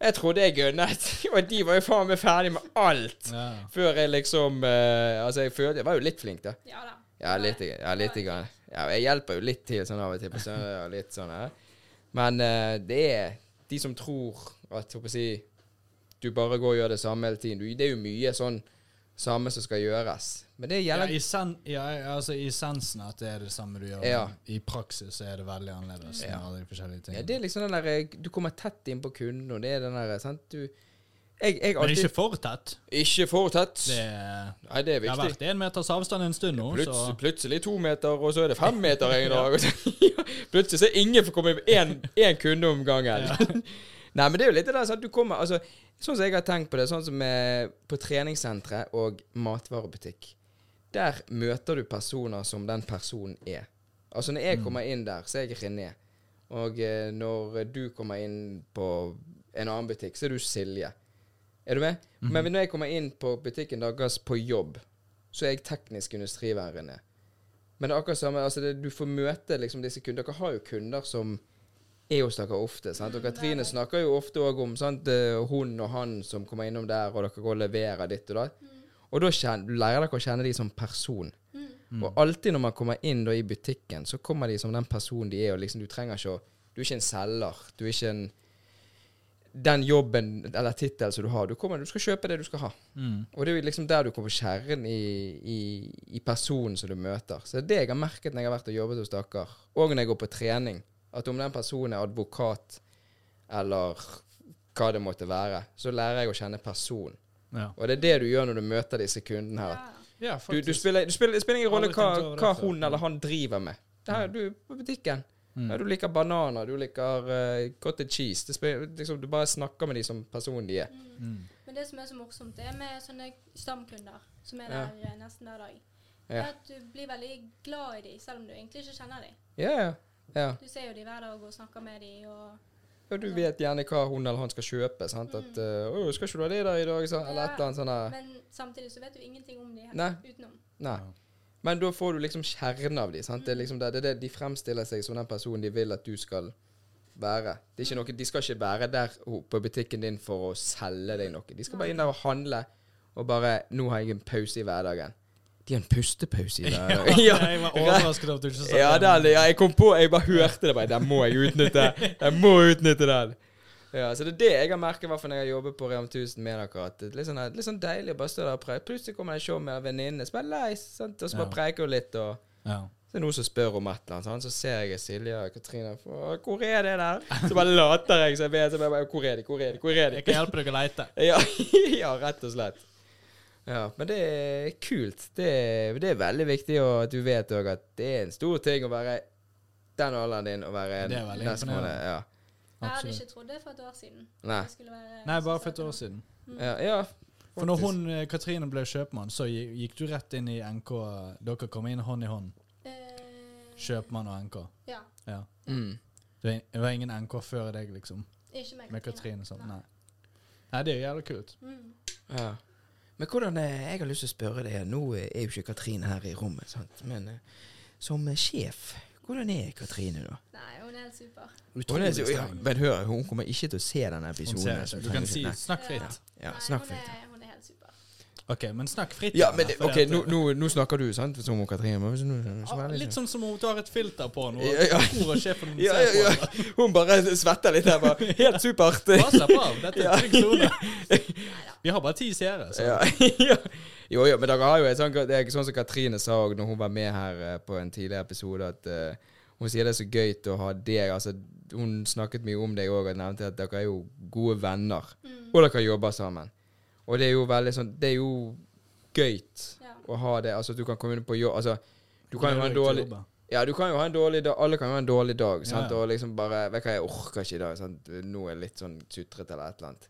Speaker 3: Jeg trodde jeg gønnet, *laughs* og de var jo faen meg ferdig med alt.
Speaker 2: Ja.
Speaker 3: Før jeg liksom eh, Altså, jeg følte Jeg var jo litt flink, da.
Speaker 4: Ja da.
Speaker 3: Ja,
Speaker 4: Det
Speaker 3: litt.
Speaker 4: var jeg.
Speaker 3: Ja, litt grann. Ja, jeg hjelper jo litt til sånn av og til på søndag. og litt sånn her. Men eh, det er de som tror at håper jeg, å si, du bare går og gjør det samme hele tiden. Du, det er jo mye sånn samme som skal gjøres. Men det
Speaker 2: Ja,
Speaker 3: gjelder
Speaker 2: i, sen, ja, altså I essensen at det er det samme du gjør.
Speaker 3: Ja.
Speaker 2: men I praksis så er det veldig annerledes. med
Speaker 3: Ja.
Speaker 2: alle de forskjellige tingene.
Speaker 3: Ja, det er liksom den der eh, Du kommer tett inn på kunden, og det er den der eh, sant? Du, jeg, jeg
Speaker 2: Men
Speaker 3: alltid
Speaker 2: ikke for tett.
Speaker 3: Ikke for tett.
Speaker 2: Det, er-
Speaker 3: Nei, det er
Speaker 2: det har
Speaker 3: viktig.
Speaker 2: vært én meters avstand en stund nå,
Speaker 3: Plutselig,
Speaker 2: så
Speaker 3: plutselig to meter, og så er det *laughs* fem meter en dag. og så- *laughs* plutselig så er ingen får komme inn én kunde om gangen. *laughs* Nei, men det er jo litt det der sånn at du kommer altså, Sånn som jeg har tenkt på det, sånn som eh, på treningssentre og matvarebutikk. Der møter du personer som den personen er. Altså når jeg kommer inn der, så er jeg René. Og eh, når du kommer inn på en annen butikk, så er du Silje. Er du med? Men når jeg kommer inn på butikken deres på jobb, så er jeg teknisk industriværer René. Men det er akkurat samme, altså det, du får møte liksom disse kundene. Dere har jo kunder som er hos dere ofte. sant? Og Katrine snakker jo ofte òg om sant, eh, hun og han som kommer innom der, og dere går og leverer ditt og datt. Og da kjen- lærer dere å kjenne de som person. Og alltid når man kommer inn da i butikken, så kommer de som den personen de er. og liksom Du trenger ikke å Du er ikke en selger. Du er ikke en den jobben eller tittelen som du har. Du, kommer, du skal kjøpe det du skal ha.
Speaker 2: mm.
Speaker 3: Og det er jo liksom der du kommer på kjernen i, i, i personen som du møter. Så det er det jeg har merket når jeg har vært og jobbet hos dere, og når jeg går på trening, at om den personen er advokat eller hva det måtte være, så lærer jeg å kjenne personen.
Speaker 2: ja.
Speaker 3: Og det er det du gjør når du møter disse kundene her.
Speaker 4: Ja.
Speaker 2: ja,
Speaker 3: Du, du spiller, du spiller, det spiller ingen rolle
Speaker 2: Aldri tenkt
Speaker 3: hva,
Speaker 2: over det
Speaker 3: hva
Speaker 2: før.
Speaker 3: hun eller han driver med. Det her, du er på butikken.
Speaker 2: Mm.
Speaker 3: Ja, du liker bananer, du liker eh, cottage cheese. Det spiller, liksom, du bare snakker med de som personen de er.
Speaker 4: Men det som er så morsomt, det er med sånne stamkunder som er
Speaker 3: Ja.
Speaker 4: der eh, nesten hver dag. Det
Speaker 3: Ja.
Speaker 4: er at du blir veldig glad i dem, selv om du egentlig ikke kjenner dem.
Speaker 3: Ja, ja. ja.
Speaker 4: Du ser jo dem hver dag og snakker med dem, og
Speaker 3: Ja, du vet gjerne hva hun eller han skal kjøpe. sant? At eh, «Å, 'Skal ikke du ha det der i dag?' sant? Eller et eller annet sånt. der.
Speaker 4: Men samtidig så vet du ingenting om dem
Speaker 3: Nei.
Speaker 4: utenom.
Speaker 3: Nei. Men da får du liksom kjernen av de, sant? Det er liksom det, det, er det, De fremstiller seg som den personen de vil at du skal være. Det er ikke noe, De skal ikke være der ho- på butikken din for å selge deg noe. De skal bare inn der og handle, og bare 'Nå har jeg en pause i hverdagen'. De har en pustepause i hverdagen. *laughs*
Speaker 2: ja, *laughs* jeg var overrasket over at du ikke sa
Speaker 3: Ja,
Speaker 2: det.
Speaker 3: den, ja, jeg kom på, jeg bare hørte det. Bare, den må jeg utnytte. Jeg må utnytte den. Ja, så det er det jeg har merket i hvert fall når jeg jobber på Rema 1000 med dere. at det er Litt sånn, litt sånn deilig å bare stå der og preike. Plutselig kommer det en show med en venninne som er lei, sant, og så bare
Speaker 2: Ja.
Speaker 3: preiker hun litt. og
Speaker 2: Ja.
Speaker 3: så er det noen som spør om et eller annet, sant? så ser jeg Silje og Katrine «Å, 'Hvor er det der?' Så bare later jeg som jeg vet. Så bare, 'Hvor er de? Hvor er de?' Hvor er de?
Speaker 2: Jeg kan hjelpe deg å leite.
Speaker 3: Ja, *laughs* ja, rett og slett. Ja, Men det er kult. Det er, det er veldig viktig og at du vet òg at det er en stor ting å være den alderen din og være en
Speaker 2: Det er veldig
Speaker 3: neste måned. Ja.
Speaker 4: Jeg hadde
Speaker 2: Absolutt.
Speaker 4: ikke trodd det for et år siden.
Speaker 3: Nei.
Speaker 4: Det skulle være-
Speaker 2: Nei, bare for et år siden.
Speaker 3: Ja, ja.
Speaker 2: For når
Speaker 3: faktisk.
Speaker 2: hun, eh, Katrine ble kjøpmann, så gi- gikk du rett inn i NK. Dere kom inn hånd i hånd.
Speaker 4: Eh,
Speaker 2: Kjøpmann og NK.
Speaker 4: Ja.
Speaker 2: Ja.
Speaker 3: mm.
Speaker 2: Det var- det var ingen NK før deg, liksom.
Speaker 4: Ikke med
Speaker 2: Med Katrine og sånn. Nei. Nei, det er jo jævlig kult.
Speaker 4: Mm.
Speaker 3: Ja. Men hvordan eh, Jeg har lyst til å spørre deg. Nå eh, er jo ikke Katrine her i rommet, sant? men eh, som eh, sjef, hvordan er Katrine da?
Speaker 4: Nei, hun er helt super.
Speaker 3: Hun er,
Speaker 2: Utrolig
Speaker 3: ja,
Speaker 2: streng.
Speaker 3: men hør, hun kommer ikke til å se denne
Speaker 2: Hun
Speaker 3: episoden.
Speaker 2: ser
Speaker 3: så
Speaker 2: ikke. Du kan
Speaker 3: trenger
Speaker 2: si
Speaker 3: ikke-
Speaker 2: 'snakk fritt'.
Speaker 3: Nei. Ja,
Speaker 4: Nei,
Speaker 3: snakk
Speaker 4: hun,
Speaker 3: fritt.
Speaker 4: er, hun er helt super.
Speaker 2: OK, men snakk fritt.
Speaker 3: Ja,
Speaker 2: Janne,
Speaker 3: men det-
Speaker 2: fordi
Speaker 3: ok,
Speaker 2: at-
Speaker 3: nå, nå, nå snakker du, sant? Som om Katrine. Men, så, nå- så,
Speaker 2: Ah,
Speaker 3: så,
Speaker 2: Litt sånn som om du har et filter på nå.
Speaker 3: Ja, ja.
Speaker 2: Tror at sjefen
Speaker 3: ja,
Speaker 2: ser
Speaker 3: ja,
Speaker 2: på
Speaker 3: ja.
Speaker 2: deg.
Speaker 3: sånn. Hun bare svetter litt her.
Speaker 2: *laughs*
Speaker 3: Bare. Helt supert.
Speaker 2: Bare slapp av. Dette
Speaker 3: Ja.
Speaker 2: er trygg sone. Vi har bare ti seere,
Speaker 3: *laughs*
Speaker 2: så
Speaker 3: Ja, ja. Jo, jo, men dere har jo et sånt, det er ikke sånn som Katrine sa også når hun var med her eh, på en tidligere episode, at eh, hun sier det er så gøy å ha deg. Altså, hun snakket mye om deg òg og nevnte at dere er jo gode venner,
Speaker 4: Mm.
Speaker 3: og dere jobber sammen. Og det er jo veldig sånn Det er jo gøy
Speaker 4: Ja.
Speaker 3: å ha det. Altså, du kan komme inn på jobb Altså, du kan jo ha
Speaker 2: Det er
Speaker 3: en
Speaker 2: jo ikke
Speaker 3: dårlig
Speaker 2: jobba.
Speaker 3: ja, du kan jo ha en dårlig dag. Alle kan jo ha en dårlig dag. Sant?
Speaker 2: ja.
Speaker 3: Og liksom bare Vet du hva, jeg orker ikke i dag. Sant? Nå er jeg
Speaker 2: Mm.
Speaker 3: litt sånn sutrete eller et eller annet.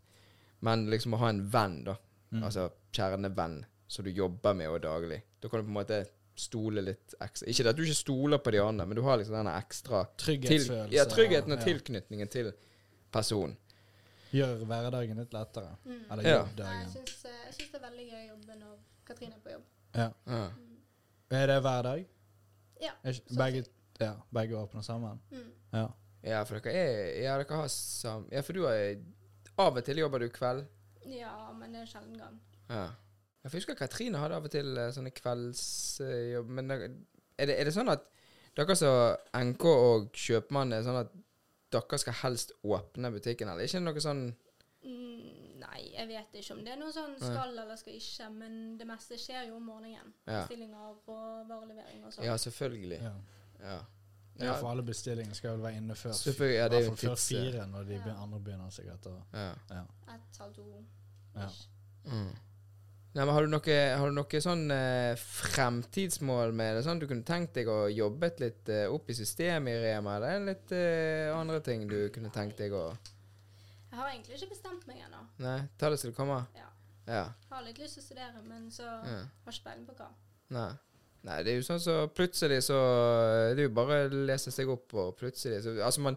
Speaker 3: Men liksom å ha en venn, da. Altså kjernevenn. som du jobber med og daglig. Da kan du på en måte stole litt ekstra Ikke det at du ikke stoler på de andre, men du har liksom denne ekstra til,
Speaker 2: Trygghetsfølelse.
Speaker 3: ja, tryggheten og
Speaker 2: ja.
Speaker 3: tilknytningen til personen.
Speaker 2: Gjør hverdagen litt lettere.
Speaker 3: Ja.
Speaker 2: Eller
Speaker 4: Mm. Nei, Jeg
Speaker 2: jobbdagen.
Speaker 4: syns eh, jeg syns det er veldig gøy å jobbe når Katrine er på jobb.
Speaker 2: Ja.
Speaker 3: Ja.
Speaker 2: Er det hver dag?
Speaker 4: Ja.
Speaker 2: Er ikke- Begge, ja, begge åpner sammen?
Speaker 4: Mm.
Speaker 2: Ja.
Speaker 3: ja, for dere er Ja, dere har sam... Ja, for du har Av og til jobber du kveld.
Speaker 4: Ja, men det er en sjelden gang.
Speaker 3: Ja. Jeg husker Katrine hadde av og til eh, sånne kveldsjobb, men dere- er det, er det sånn at dere som NK og kjøpmann er sånn at dere skal helst åpne butikken, eller ikke noe sånn
Speaker 4: Mm, nei, jeg vet ikke om det er noe sånn
Speaker 3: Nei.
Speaker 4: skal eller skal ikke, men det meste skjer jo om morgenen.
Speaker 3: Ja,
Speaker 4: Bestillinger og varelevering og sånn.
Speaker 3: ja selvfølgelig.
Speaker 2: Ja.
Speaker 3: Ja.
Speaker 2: ja,
Speaker 3: Ja,
Speaker 2: for alle bestillinger skal vel være inne før
Speaker 3: selvfølgelig. Ja, det er jo
Speaker 2: hvertfall
Speaker 3: en
Speaker 2: før
Speaker 3: tids...
Speaker 2: fire, når de
Speaker 4: Ja.
Speaker 2: begynner, andre begynner sikkert. Og,
Speaker 3: Ja.
Speaker 2: ja.
Speaker 4: Ett, halv to.
Speaker 2: Ja.
Speaker 4: ish.
Speaker 3: Mm. Nei, men har du noe, har du noe sånn eh, fremtidsmål med det? Sånn du kunne tenkt deg å jobbe litt eh, opp i systemet i Rema? Eller er det litt eh, andre ting du kunne tenkt deg å
Speaker 4: Jeg har egentlig ikke bestemt meg ennå.
Speaker 3: Nei, ta det som det kommer?
Speaker 4: Ja.
Speaker 3: Ja.
Speaker 4: Har litt lyst til å studere, men så
Speaker 3: ja.
Speaker 4: har ikke peiling på hva.
Speaker 3: Nei. Nei, det er jo sånn så plutselig så eh, Det er jo bare å lese seg opp, og plutselig så Altså, man,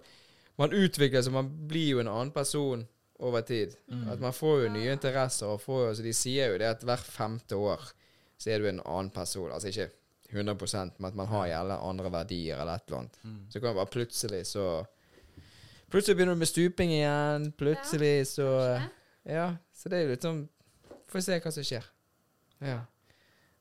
Speaker 3: man utvikler seg, man blir jo en annen person over tid.
Speaker 4: Mm.
Speaker 3: At man får jo nye interesser, og får jo Så de sier jo det at hver femte år så er du en annen person. Altså ikke 100 men at man har gjerne andre verdier eller et eller annet.
Speaker 2: Mm.
Speaker 3: Så kan det bare plutselig så Plutselig begynner du med stuping igjen. Plutselig så
Speaker 4: Kanskje?
Speaker 3: ja, så det er jo litt sånn Får se hva som skjer. Ja.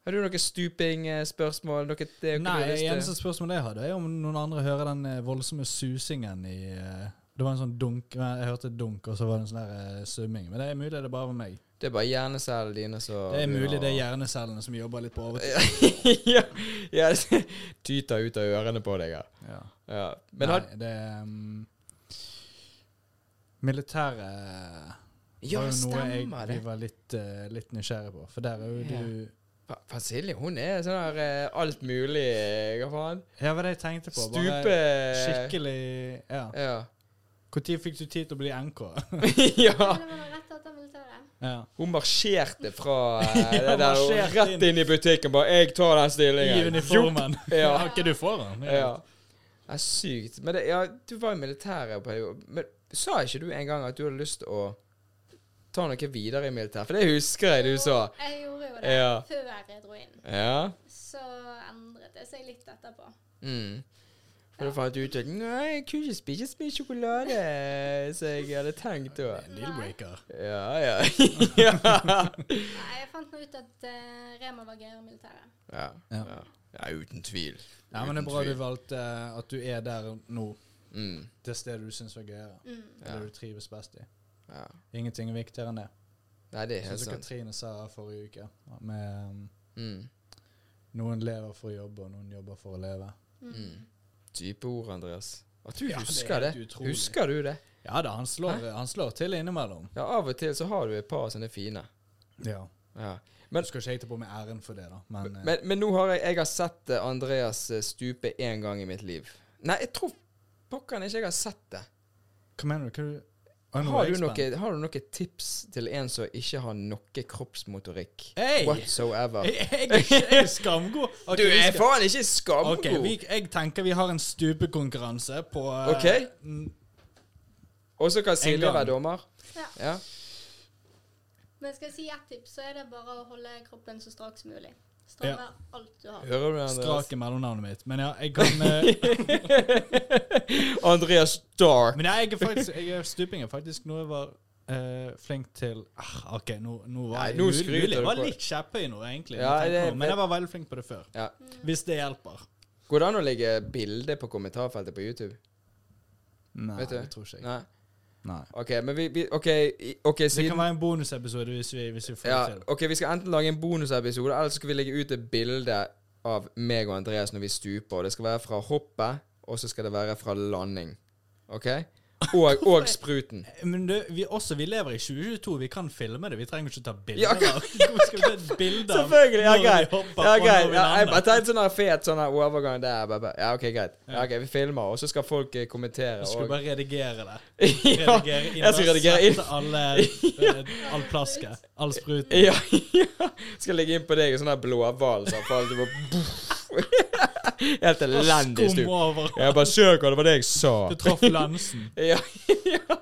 Speaker 3: Har du noen stuping-spørsmål? Noe det hva
Speaker 2: Nei,
Speaker 3: du har lyst til?
Speaker 2: eneste spørsmål jeg hadde, er om noen andre hører den eh, voldsomme susingen i eh, Det var en sånn dunk nei, Jeg hørte et dunk, og så var det en sånn der eh, summing. Men det er mulig det er bare var meg.
Speaker 3: Det er bare hjernecellene dine som
Speaker 2: Det er mulig det er hjernecellene som jobber litt på overtid.
Speaker 3: *laughs* ja, ja, det tyter ut av ørene på deg. Ja.
Speaker 2: Ja.
Speaker 3: Ja. Men har
Speaker 2: Nei, det er um, Militæret
Speaker 3: Ja,
Speaker 2: var jo noe jeg
Speaker 3: stemmer det.
Speaker 2: vi var litt, eh, litt nysgjerrig på. For der er jo
Speaker 3: Ja.
Speaker 2: du
Speaker 3: Fa- faen, Silje, hun er sånn her eh, alt mulig eh, Hva faen?
Speaker 2: Ja, hva var det jeg tenkte på?
Speaker 3: Stupe
Speaker 2: Bare skikkelig Ja.
Speaker 3: Ja.
Speaker 2: Når fikk du tid til å bli NK?
Speaker 3: eh, *laughs* ja.
Speaker 4: Men det var rett etter
Speaker 3: *laughs*
Speaker 4: militæret.
Speaker 2: *laughs* ja.
Speaker 3: Hun marsjerte fra
Speaker 2: *laughs*
Speaker 3: eh, det der, og
Speaker 2: marsjerte
Speaker 3: rett inn i butikken bare 'Jeg tar den
Speaker 2: I
Speaker 3: stillingen'.
Speaker 2: uniformen.
Speaker 3: Ja.
Speaker 2: Har ikke du foran?
Speaker 3: Ja. Det er sykt. Men det, ja, du var i militæret en periode. Men sa ikke du en gang at du hadde lyst til å ta noe videre i militæret? For det husker jeg du sa.
Speaker 4: Jeg gjorde jo det
Speaker 3: Ja.
Speaker 4: før jeg dro inn.
Speaker 3: Ja.
Speaker 4: Så endret det seg litt etterpå.
Speaker 3: Mm. For da fant du ut at Nei, jeg kunne ikke spise så mye sjokolade som jeg hadde tenkt da.
Speaker 2: Deal-breaker.
Speaker 3: Ja, ja. *laughs* ja.
Speaker 4: Nei, jeg fant nå ut at eh, Rema var gøyere enn militæret.
Speaker 3: ja.
Speaker 2: Ja.
Speaker 3: ja. Ja, uten tvil.
Speaker 2: Ja, men det er bra du valgte eh, at du er der nå.
Speaker 3: Mm.
Speaker 2: Det stedet du syns var gøyere.
Speaker 4: Mm.
Speaker 2: Det du trives best i.
Speaker 3: Ja.
Speaker 2: Ingenting er viktigere enn det.
Speaker 3: Nei, det er
Speaker 2: Sånn
Speaker 3: helt
Speaker 2: som
Speaker 3: sant.
Speaker 2: Katrine sa forrige uke, med um,
Speaker 3: Mm.
Speaker 2: noen lever for å jobbe, og noen jobber for å leve.
Speaker 4: Mm.
Speaker 3: Mm. Dype ord, Andreas. At du
Speaker 2: Ja, det er
Speaker 3: husker det.
Speaker 2: helt utrolig.
Speaker 3: Husker du det?
Speaker 2: Ja da, han slår, han slår til innimellom.
Speaker 3: Ja, av og til så har du et par sånne fine.
Speaker 2: Ja.
Speaker 3: Ja.
Speaker 2: Men,
Speaker 3: Men-
Speaker 2: skal ikke jeg ta på meg æren for det, da, men, eh,
Speaker 3: Men, men nå har jeg, jeg har sett eh, Andreas eh, stupe én gang i mitt liv. Nei, jeg tror pokker ikke jeg har sett det.
Speaker 2: Hva mener du? Hva du Å, nå er
Speaker 3: Har
Speaker 2: jeg
Speaker 3: du, noe,
Speaker 2: spent.
Speaker 3: har du noe tips til en som ikke har noe kroppsmotorikk
Speaker 2: Hey!
Speaker 3: whatsoever?
Speaker 2: Jeg, jeg, er ikke- jeg er skamgod. Ok,
Speaker 3: Du
Speaker 2: vi
Speaker 3: er
Speaker 2: skal-
Speaker 3: faen ikke skamgod!
Speaker 2: Ok, vi, jeg tenker vi har en stupekonkurranse på eh,
Speaker 3: Ok.
Speaker 2: n-
Speaker 3: Og så kan
Speaker 2: En
Speaker 3: Silje
Speaker 2: gang.
Speaker 3: være dommer.
Speaker 4: Ja.
Speaker 3: Ja.
Speaker 4: Men skal jeg si ett tips, så er det bare å holde kroppen så strak som mulig. Stramme alt du har.
Speaker 3: Hører du, Andreas?
Speaker 2: Strake mellomnavnet mitt. Men ja, jeg
Speaker 3: *laughs*
Speaker 2: kan eh,
Speaker 3: Andreas Stark.
Speaker 2: Men ja, jeg er faktisk jeg er Stuping er faktisk noe jeg var eh, flink til ah, OK, nå, nå var
Speaker 3: Nei,
Speaker 2: jeg
Speaker 3: nå
Speaker 2: mul-
Speaker 3: skryter du
Speaker 2: mulig. Jeg var
Speaker 3: på det.
Speaker 2: litt kjepphøy nå, egentlig.
Speaker 3: Ja,
Speaker 2: når jeg tenker
Speaker 3: det-
Speaker 2: på det, men jeg var veldig flink på det før.
Speaker 3: Ja.
Speaker 2: Hvis det hjelper.
Speaker 3: Går det an å legge bilde på kommentarfeltet på YouTube?
Speaker 2: Nei,
Speaker 3: Vet du?
Speaker 2: det tror ikke jeg.
Speaker 3: Nei?
Speaker 2: Nei.
Speaker 3: OK, men vi, vi OK, i- ok,
Speaker 2: Det
Speaker 3: siden
Speaker 2: kan være en bonusepisode hvis vi, hvis vi får
Speaker 3: Ja,
Speaker 2: det til.
Speaker 3: ok, Vi skal enten lage en bonusepisode, eller så skal vi legge ut et bilde av meg og Andreas når vi stuper. Og Det skal være fra hoppet, og så skal det være fra landing. Ok?
Speaker 2: *laughs*
Speaker 3: Og, og spruten.
Speaker 2: Men du, vi, også, vi lever i 2022. Vi kan filme det. Vi trenger ikke ta bilder.
Speaker 3: Ja,
Speaker 2: av Hvorfor skal *laughs* vi ta et bilde av
Speaker 3: Selvfølgelig. Ja,
Speaker 2: når vi
Speaker 3: greit.
Speaker 2: hopper
Speaker 3: Ja,
Speaker 2: og
Speaker 3: greit.
Speaker 2: når vi
Speaker 3: Ja, jeg
Speaker 2: lander?
Speaker 3: bare tenkte sånn her fet sånn her overgang der. bare- bare- Ja, OK, greit. Ja, ok, Vi filmer, og så skal folk eh, kommentere.
Speaker 2: Du
Speaker 3: Og...
Speaker 2: skulle bare redigere det.
Speaker 3: *laughs* Ja,
Speaker 2: Redigere inn,
Speaker 3: jeg skal
Speaker 2: bare
Speaker 3: redigere
Speaker 2: *laughs*
Speaker 3: inn.
Speaker 2: sette alle, eh, all plasket. All spruten.
Speaker 3: Ja, ja. Skal legge inn på deg en sånn her blåhval som falt over *laughs* Helt elendig
Speaker 2: Skum
Speaker 3: stup.
Speaker 2: over.
Speaker 3: Jeg bare Søk hva det var det jeg sa.
Speaker 2: Du traff lansen.
Speaker 3: Ja, *laughs* ja.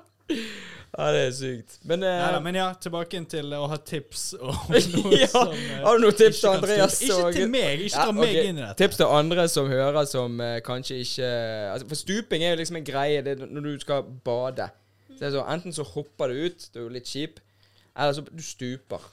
Speaker 3: ja det er sykt. Men, eh,
Speaker 2: Neida, men ja, tilbake inn til å ha tips
Speaker 3: *laughs*
Speaker 2: om noe
Speaker 3: ja.
Speaker 2: som eh,
Speaker 3: Har du noen tips
Speaker 2: ikke
Speaker 3: til
Speaker 2: kan
Speaker 3: Andreas?
Speaker 2: stupe. Ikke til meg! Ikke dra
Speaker 3: Ja,
Speaker 2: meg
Speaker 3: ok.
Speaker 2: inn i dette.
Speaker 3: Tips til andre som hører som eh, kanskje ikke altså, For stuping er jo liksom en greie det er når du skal bade. Så det er så, enten så hopper du ut, det er jo litt kjip, eller så du stuper.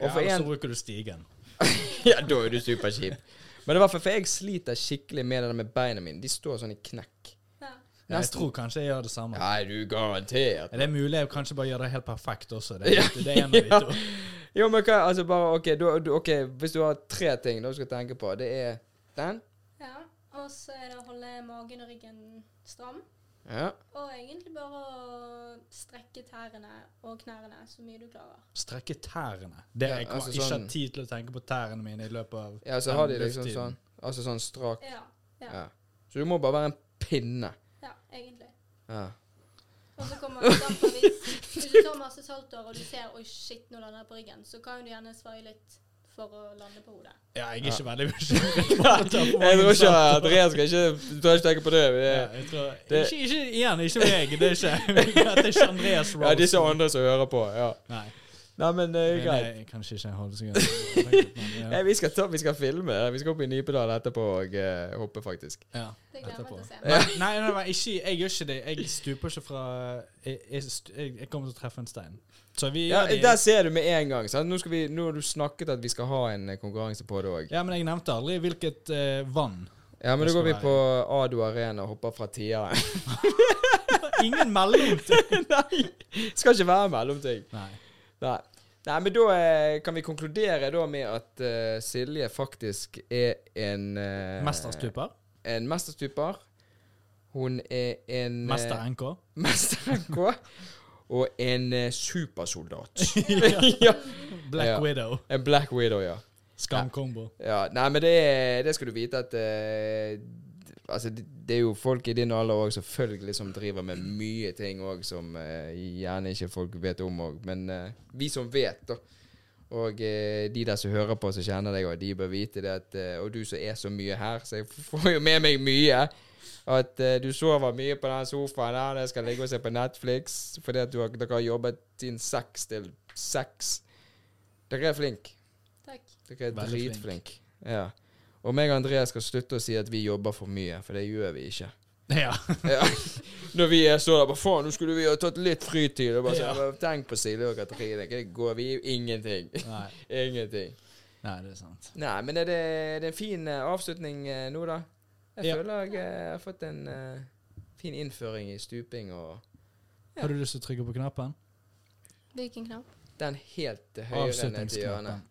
Speaker 3: Og for
Speaker 2: ja, så
Speaker 3: en,
Speaker 2: bruker du stigen.
Speaker 3: *laughs* ja, da er du superkjip. Men det var for, for jeg sliter skikkelig med det der med beina mine. De står sånn i knekk.
Speaker 4: Ja.
Speaker 2: Jeg tror kanskje jeg gjør det samme.
Speaker 3: Nei, du garantert.
Speaker 2: Er det mulig jeg kanskje bare gjør det helt perfekt også? Det,
Speaker 3: Ja.
Speaker 2: det er en av de
Speaker 3: *laughs* Ja.
Speaker 2: to.
Speaker 3: Jo, men hva, altså bare, ok, du, du, ok, hvis du har tre ting da du skal tenke på, det er den,
Speaker 4: ja. Og så er det å holde magen og ryggen stram.
Speaker 3: ja,
Speaker 4: Og egentlig bare å strekke tærne og knærne så mye du klarer.
Speaker 2: Strekke tærne. Det
Speaker 3: Ja,
Speaker 2: jeg kommer
Speaker 3: altså
Speaker 2: ikke
Speaker 3: sånn-
Speaker 2: hatt tid til å tenke på tærne mine i løpet av
Speaker 3: ja, så
Speaker 2: den
Speaker 3: har de liksom
Speaker 2: lufttiden.
Speaker 3: sånn, altså sånn strak,
Speaker 4: Ja. Ja,
Speaker 3: ja. Så du må bare være en pinne.
Speaker 4: ja egentlig.
Speaker 3: Ja.
Speaker 4: Og så kommer det an på hvis, hvis du tar masse saltår og du ser oi shit, nå lander jeg på ryggen, så kan jo du gjerne svaie litt for å lande på hodet.
Speaker 2: Ja, jeg er ikke veldig
Speaker 3: *laughs*
Speaker 2: bekymret. for å
Speaker 3: *laughs* Jeg
Speaker 2: ta for mange
Speaker 3: tror ikke
Speaker 2: salter.
Speaker 3: Andreas skal ikke, du tar ikke tenke på det. vi
Speaker 2: Ja,
Speaker 3: er-
Speaker 2: jeg tror,
Speaker 3: Det-
Speaker 2: ikke, ikke igjen, ikke *laughs* meg. Det er ikke, det er ikke Andreas Rose.
Speaker 3: Ja, disse andre som hører på, ja.
Speaker 2: Nei,
Speaker 3: Nei, men det er
Speaker 2: men eh,
Speaker 3: greit.
Speaker 2: jeg, kanskje ikke holde seg unna.
Speaker 3: Nei,
Speaker 2: Ja.
Speaker 3: vi skal, ta, vi skal filme, vi skal opp i Nipedal etterpå og eh, hoppe faktisk.
Speaker 2: Ja.
Speaker 4: Det gleder jeg meg til å se.
Speaker 2: Nei, nei, nei, nei ikke, jeg gjør ikke det. Jeg stuper ikke fra Jeg, jeg, stu- jeg, jeg kommer til å treffe en stein. Så vi
Speaker 3: Ja,
Speaker 2: gjør det.
Speaker 3: der ser du med en gang, sant? Nå, skal vi, nå har du snakket at vi skal ha en eh, konkurranse på det også.
Speaker 2: Ja, men jeg nevnte aldri hvilket eh, vann. *laughs*
Speaker 3: Ja, men
Speaker 2: Det
Speaker 3: da går
Speaker 2: skal
Speaker 3: vi
Speaker 2: være-
Speaker 3: på Ado Arena og hopper fra tieren.
Speaker 2: Ingen melding til
Speaker 3: *laughs* Nei! Skal ikke være mellomting.
Speaker 2: Nei.
Speaker 3: Nei. Nei, men da eh, kan vi konkludere da med at eh, Silje faktisk er en eh,
Speaker 2: Mesterstuper.
Speaker 3: En mesterstuper. Hun er en eh,
Speaker 2: Mester
Speaker 3: *laughs*
Speaker 2: NK.
Speaker 3: Mester NK. Og en eh, supersoldat. *laughs* ja.
Speaker 2: Black
Speaker 3: Ja.
Speaker 2: Widow.
Speaker 3: En Black Widow, ja.
Speaker 2: Skamkombo.
Speaker 3: Ja, nei, men det, er- det skal du vite at eh, d- Altså, det det er jo folk i din alder òg selvfølgelig som driver med mye ting òg som eh, gjerne ikke folk vet om òg. Men eh, vi som vet, da. Og eh, de der som hører på, som kjenner deg, og de bør vite det at eh, Og du som er så mye her, så jeg *laughs* får jo med meg mye. At eh, du sover mye på den sofaen her, jeg skal ligge og se på Netflix fordi at du har, dere har jobbet siden seks til seks. Dere er flinke.
Speaker 4: Takk.
Speaker 3: Dere er
Speaker 2: Veldig flink.
Speaker 3: dritflinke. Ja. Og meg og Andreas skal slutte å si at vi jobber for mye, for det gjør vi
Speaker 2: *laughs*
Speaker 3: ikke.
Speaker 2: Ja.
Speaker 3: Ja. Når vi er så der bare faen, nå skulle vi ha tatt litt fritid. Og bare sånn,
Speaker 2: Ja.
Speaker 3: «Men Tenk på Silje og Katrine, det går vi ingenting. *laughs*
Speaker 2: Nei.
Speaker 3: Ingenting.
Speaker 2: Nei, det er sant.
Speaker 3: Nei, men er det, er det en fin eh, avslutning eh, nå, da? Jeg
Speaker 2: Ja.
Speaker 3: føler jeg eh, har fått en eh, fin innføring i stuping og
Speaker 2: Har du lyst til å trykke på knappen?
Speaker 4: Hvilken knapp?
Speaker 3: den helt eh, til høyre ned til hjørnet.
Speaker 2: Avslutningsknappen.